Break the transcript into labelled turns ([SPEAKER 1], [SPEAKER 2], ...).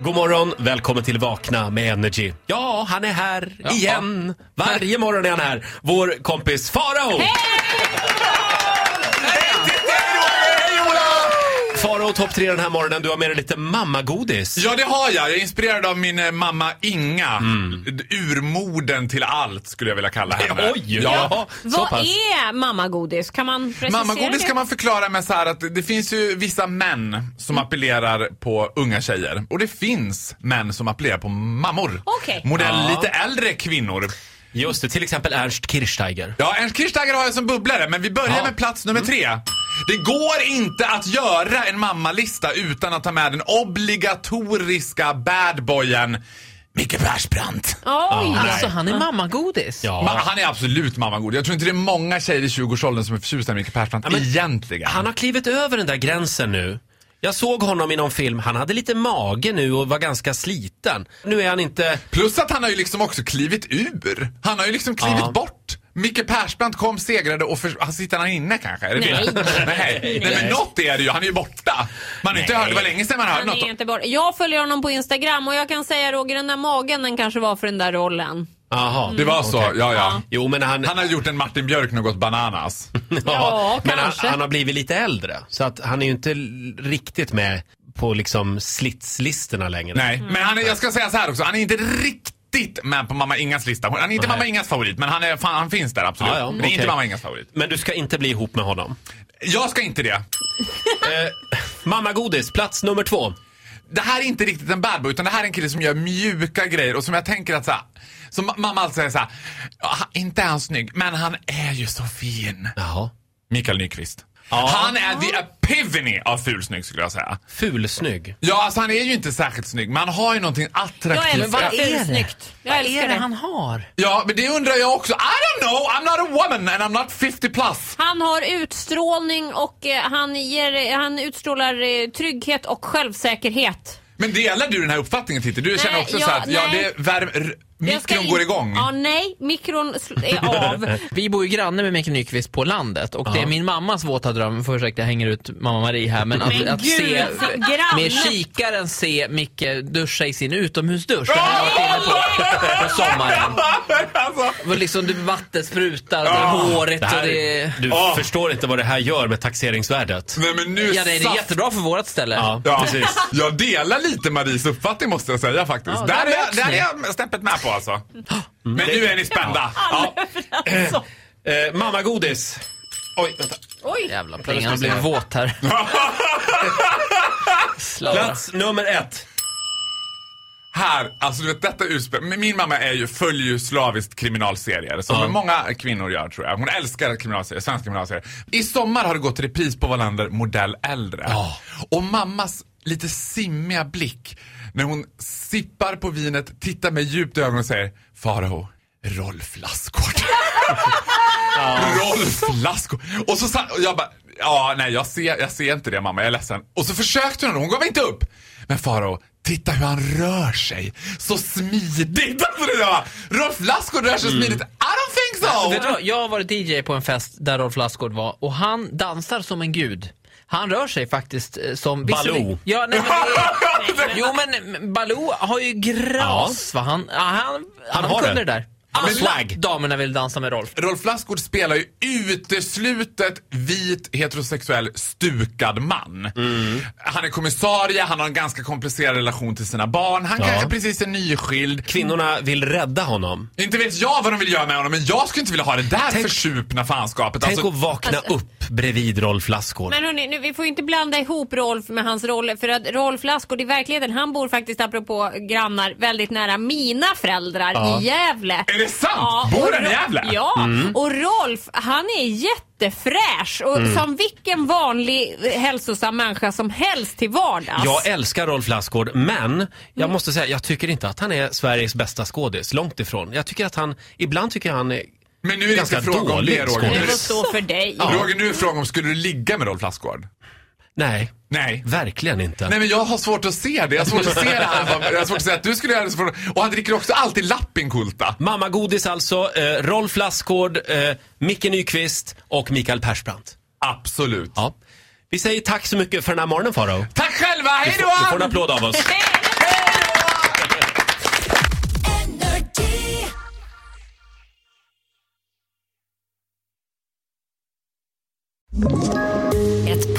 [SPEAKER 1] God morgon, välkommen till Vakna med Energy. Ja, han är här igen. Varje morgon är han här. Vår kompis Farao! Farao topp tre den här morgonen. Du har med dig lite mammagodis.
[SPEAKER 2] Ja, det har jag. Jag är inspirerad av min eh, mamma Inga.
[SPEAKER 1] Mm.
[SPEAKER 2] D- Urmoden till allt, skulle jag vilja kalla henne.
[SPEAKER 1] Oj!
[SPEAKER 2] Ja.
[SPEAKER 1] så
[SPEAKER 3] Vad
[SPEAKER 1] pass.
[SPEAKER 3] är mammagodis? Kan man precisera
[SPEAKER 2] Mammagodis
[SPEAKER 3] det?
[SPEAKER 2] kan man förklara med så här att det finns ju vissa män som
[SPEAKER 1] Mm.
[SPEAKER 2] appellerar på unga tjejer. Och det finns män som appellerar på mammor.
[SPEAKER 3] Okej.
[SPEAKER 2] Modell
[SPEAKER 1] Ja.
[SPEAKER 2] lite äldre kvinnor.
[SPEAKER 1] Just det, till exempel Ernst Kirchsteiger.
[SPEAKER 2] Ja, Ernst Kirchsteiger har jag som bubblare, men vi börjar
[SPEAKER 1] Ja. Mm.
[SPEAKER 2] med plats nummer tre. Det går inte att göra en mammalista utan att ta med den obligatoriska badboyen Micke Persbrandt.
[SPEAKER 3] Oj!
[SPEAKER 1] Ja.
[SPEAKER 4] Alltså han är mammagodis.
[SPEAKER 2] Ma-
[SPEAKER 1] Ja.
[SPEAKER 2] han är absolut mammagod. Jag tror inte det är många tjejer i 20-årsåldern som är förtjusta i Micke Persbrandt
[SPEAKER 1] men-
[SPEAKER 2] egentligen.
[SPEAKER 1] Han har klivit över den där gränsen nu. Jag såg honom i någon film. Han hade lite mage nu och var ganska sliten. Nu är han inte...
[SPEAKER 2] Plus att han har ju liksom också klivit ur. Han har ju liksom klivit
[SPEAKER 1] Ja.
[SPEAKER 2] bort. Micke Persbrandt kom, segrade och för... han sitter han inne kanske? Är det
[SPEAKER 3] Nej.
[SPEAKER 2] det? Nej. Nej. Nej, men något är det ju. Han är ju borta. Man har inte hört, det var länge sedan man hörde
[SPEAKER 3] Han
[SPEAKER 2] något.
[SPEAKER 3] är
[SPEAKER 2] om-
[SPEAKER 3] inte bort. Jag följer honom på Instagram och jag kan säga Roger, den där magen den kanske var för den där rollen.
[SPEAKER 1] Jaha.
[SPEAKER 2] Det var så, ja ja.
[SPEAKER 1] Jo, men han...
[SPEAKER 2] Han har gjort en Martin Björk något bananas.
[SPEAKER 3] Ja,
[SPEAKER 1] men han,
[SPEAKER 3] kanske.
[SPEAKER 1] han har blivit lite äldre. Så att han är ju inte l- riktigt med på liksom slitslistorna längre.
[SPEAKER 2] Nej, men han är, jag ska säga så här också. Han är inte riktigt med på mamma Ingas lista. Han är inte
[SPEAKER 1] Nej.
[SPEAKER 2] mamma Ingas favorit, men han, är, fan, han finns där absolut.
[SPEAKER 1] Ja, ja,
[SPEAKER 2] men det är inte
[SPEAKER 1] okej.
[SPEAKER 2] mamma Ingas favorit.
[SPEAKER 1] Men du ska inte bli ihop med honom.
[SPEAKER 2] Jag ska inte det.
[SPEAKER 1] Mamma godis, plats nummer två.
[SPEAKER 2] Det här är inte riktigt en bad boy, utan det här är en kille som gör mjuka grejer och som jag tänker att så här, som ma- mamma alltid säger så här, "Ja, han- inte är han snygg, men han är ju så fin.
[SPEAKER 1] Jaha.
[SPEAKER 2] Mikael Nyqvist. Han är the epivany av fulsnygg skulle jag säga.
[SPEAKER 1] Fulsnygg.
[SPEAKER 2] Ja, alltså han är ju inte särskilt snygg, men han har ju någonting
[SPEAKER 3] Jag
[SPEAKER 2] attraktivt.
[SPEAKER 3] älskar
[SPEAKER 4] vad
[SPEAKER 3] det.
[SPEAKER 4] är det?
[SPEAKER 3] Snyggt. Jag
[SPEAKER 4] Vad
[SPEAKER 3] älskar
[SPEAKER 4] är det
[SPEAKER 3] det.
[SPEAKER 4] han har?
[SPEAKER 2] Ja, men det undrar jag också. I don't know, I'm not a woman and I'm not 50 plus.
[SPEAKER 3] Han har utstrålning och eh, han, ger, han utstrålar eh, trygghet och självsäkerhet.
[SPEAKER 2] Men delar du den här uppfattningen Titti? Du känner också
[SPEAKER 3] ja,
[SPEAKER 2] så här att ja,
[SPEAKER 3] nej.
[SPEAKER 2] det värm... r-
[SPEAKER 3] Jag ska
[SPEAKER 2] Mikron
[SPEAKER 3] in-
[SPEAKER 2] går igång.
[SPEAKER 3] Ja, nej, mikron sl- är av.
[SPEAKER 4] Vi bor ju granne med Mikael Nyqvist på landet och det är min mammas våta dröm, för ursäkta jag hänger ut mamma Marie här, men att,
[SPEAKER 3] Men
[SPEAKER 4] att
[SPEAKER 3] gud,
[SPEAKER 4] se
[SPEAKER 3] alltså, granne.
[SPEAKER 4] med kikaren se Micke duscha i sin utomhusdusch. Det här har jag varit inne på, på sommaren.
[SPEAKER 2] alltså.
[SPEAKER 4] Och liksom du vatten sprutar och det är
[SPEAKER 2] Ah,
[SPEAKER 4] håret
[SPEAKER 1] Det
[SPEAKER 4] och
[SPEAKER 1] här,
[SPEAKER 4] det är...
[SPEAKER 1] Du
[SPEAKER 2] Ah.
[SPEAKER 1] förstår inte vad det här gör med taxeringsvärdet.
[SPEAKER 2] Nej men nu
[SPEAKER 4] Ja, nej, det är
[SPEAKER 2] satt-
[SPEAKER 4] jättebra för vårt ställe.
[SPEAKER 1] Ja,
[SPEAKER 2] Ja,
[SPEAKER 1] precis.
[SPEAKER 2] Jag delar lite Maries uppfattning måste jag säga faktiskt.
[SPEAKER 4] Ja,
[SPEAKER 2] där, är
[SPEAKER 4] där
[SPEAKER 2] jag,
[SPEAKER 4] möts
[SPEAKER 2] där
[SPEAKER 4] ni.
[SPEAKER 2] är jag snäppet med på alltså.
[SPEAKER 4] Mm.
[SPEAKER 2] Men nu är ni spända. Ja.
[SPEAKER 1] Eh, mamma godis. Oj, vänta.
[SPEAKER 3] Oj!
[SPEAKER 4] Jävla plingan, jag blev våt här. Slara.
[SPEAKER 1] Plats nummer ett.
[SPEAKER 2] Här, alltså du vet detta utspel. men Min mamma är ju, följer ju slaviskt kriminalserier som
[SPEAKER 1] Ja.
[SPEAKER 2] många kvinnor gör tror jag. Hon älskar kriminalserier, svenska kriminalserier. I sommar har det gått repris på Wallander modell äldre.
[SPEAKER 1] Ja.
[SPEAKER 2] Och mammas lite simmiga blick när hon sippar på vinet, tittar mig djupt i ögonen och säger Farao, Rolf Lassgård. Rolf Lassgård. Och så sa, och jag bara, ja nej jag ser, jag ser inte det mamma, jag är ledsen. Och så försökte hon, hon gav inte upp. Men Faro, titta hur han rör sig. Så smidigt. Alltså det där, Rolf Lassgård rör sig smidigt. I don't think so.
[SPEAKER 4] Vet du vad? Jag har varit DJ på en fest där Rolf Lassgård var och han dansar som en gud. Han rör sig faktiskt eh, som...
[SPEAKER 1] Baloo.
[SPEAKER 4] Ja, nej, men det är, jo men Baloo har ju gras va? Han, ja, han, han,
[SPEAKER 1] har
[SPEAKER 4] kunde
[SPEAKER 1] det.
[SPEAKER 4] det, där.
[SPEAKER 1] Han har
[SPEAKER 4] Alla
[SPEAKER 1] swag.
[SPEAKER 4] damerna vill dansa med Rolf.
[SPEAKER 2] Rolf Lassgård spelar ju uteslutet vit heterosexuell stukad man. Han är kommissarie, han har en ganska komplicerad relation till sina barn. Han kanske precis är nyskild.
[SPEAKER 1] Kvinnorna vill rädda honom.
[SPEAKER 2] Inte vet jag vad de vill göra med honom, men jag skulle inte vilja ha det där
[SPEAKER 1] Tänk-
[SPEAKER 2] försupna fanskapet.
[SPEAKER 1] Tänk
[SPEAKER 2] Alltså,
[SPEAKER 1] att vakna upp bredvid Rolf Lassgård.
[SPEAKER 3] Men hörni, nu, vi får ju inte blanda ihop Rolf med hans roll. För att Rolf Lassgård i verkligheten, han bor faktiskt apropå grannar väldigt nära mina föräldrar i Gävle.
[SPEAKER 2] Är det sant?
[SPEAKER 3] Ja,
[SPEAKER 2] Bor
[SPEAKER 3] och
[SPEAKER 2] han i
[SPEAKER 3] Ro-
[SPEAKER 2] Gävle? Mm.
[SPEAKER 3] Ja, och Rolf han är jättefräsch och som vilken vanlig eh, hälsosam människa som helst till vardags.
[SPEAKER 1] Jag älskar Rolf Lassgård, men jag måste säga, jag tycker inte att han är Sveriges bästa skådis. Långt ifrån. Jag tycker att han, ibland tycker jag han är...
[SPEAKER 2] men nu är det
[SPEAKER 1] Ganska
[SPEAKER 2] inte fråga om
[SPEAKER 1] dålig
[SPEAKER 2] det
[SPEAKER 1] skådis.
[SPEAKER 2] Roger.
[SPEAKER 3] det
[SPEAKER 2] Nu
[SPEAKER 3] får
[SPEAKER 2] är
[SPEAKER 3] stå för dig.
[SPEAKER 2] det- Roger, nu är frågan om skulle du ligga med Rolf Lassgård?
[SPEAKER 1] Nej,
[SPEAKER 2] Nej.
[SPEAKER 1] verkligen inte.
[SPEAKER 2] Nej men jag har svårt att se det. Jag har svårt att se det här. Jag har svårt att se att du skulle göra det. så fort- Och han dricker också alltid Lappinkulta.
[SPEAKER 1] Mamma Godis alltså, eh, Rolf Lassgård, eh, Micke Nyqvist och Mikael Persbrandt.
[SPEAKER 2] Absolut.
[SPEAKER 1] Ja. Vi säger tack så mycket för den här morgonen Faro.
[SPEAKER 2] Tack själva, hej
[SPEAKER 1] Du får en
[SPEAKER 2] då!
[SPEAKER 1] applåd av oss.
[SPEAKER 3] Hej! Ett